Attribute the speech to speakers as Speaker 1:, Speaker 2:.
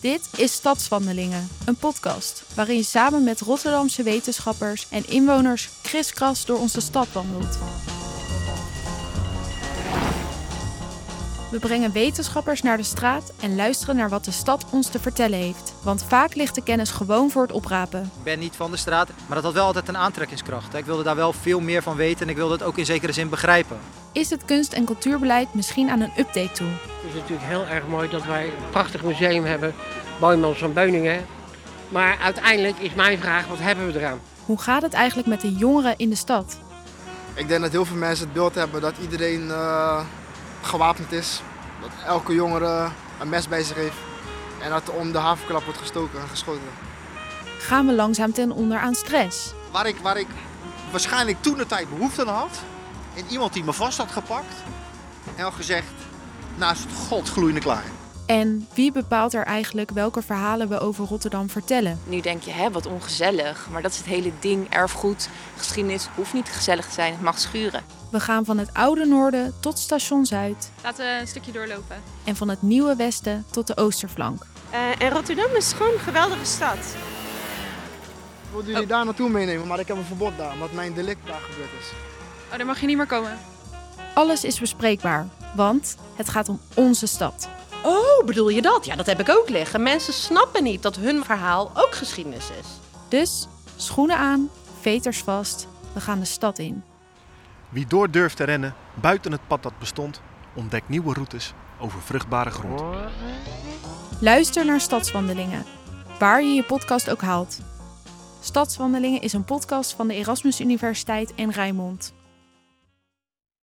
Speaker 1: Dit is Stadswandelingen, een podcast waarin je samen met Rotterdamse wetenschappers en inwoners kriskras door onze stad wandelt. We brengen wetenschappers naar de straat en luisteren naar wat de stad ons te vertellen heeft. Want vaak ligt de kennis gewoon voor het oprapen.
Speaker 2: Ik ben niet van de straat, maar dat had wel altijd een aantrekkingskracht. Ik wilde daar wel veel meer van weten en ik wilde het ook in zekere zin begrijpen.
Speaker 1: Is het kunst- en cultuurbeleid misschien aan een update toe?
Speaker 3: Het is natuurlijk heel erg mooi dat wij een prachtig museum hebben, Boymans van Beuningen. Maar uiteindelijk is mijn vraag, wat hebben we eraan?
Speaker 1: Hoe gaat het eigenlijk met de jongeren in de stad?
Speaker 4: Ik denk dat heel veel mensen het beeld hebben dat iedereen eh, gewapend is. Dat elke jongere een mes bij zich heeft. En dat er om de havenklap wordt gestoken en geschoten.
Speaker 1: Gaan we langzaam ten onder aan stress?
Speaker 5: waar ik, waar ik waarschijnlijk toen de tijd behoefte aan had. En iemand die me vast had gepakt en had gezegd, naast het godgloeiende klaar.
Speaker 1: En wie bepaalt er eigenlijk welke verhalen we over Rotterdam vertellen?
Speaker 6: Nu denk je, hè, wat ongezellig. Maar dat is het hele ding. Erfgoed, geschiedenis hoeft niet gezellig te zijn. Het mag schuren.
Speaker 1: We gaan van het oude noorden tot station Zuid
Speaker 7: Laten we een stukje doorlopen.
Speaker 1: en van het nieuwe westen tot de oosterflank.
Speaker 8: Eh, en Rotterdam is gewoon een geweldige stad.
Speaker 4: Ik wilde jullie daar naartoe meenemen, maar ik heb een verbod daar, omdat mijn delict daar gebeurd is.
Speaker 7: Oh, daar mag je niet meer komen.
Speaker 1: Alles is bespreekbaar, want het gaat om onze stad.
Speaker 9: Oh, bedoel je dat? Ja, dat heb ik ook liggen. Mensen snappen niet dat hun verhaal ook geschiedenis is.
Speaker 1: Dus schoenen aan, veters vast, we gaan de stad in.
Speaker 10: Wie door durft te rennen buiten het pad dat bestond, ontdekt nieuwe routes over vruchtbare grond.
Speaker 1: Luister naar Stadswandelingen, waar je je podcast ook haalt. Stadswandelingen is een podcast van de Erasmus Universiteit en Rijnmond.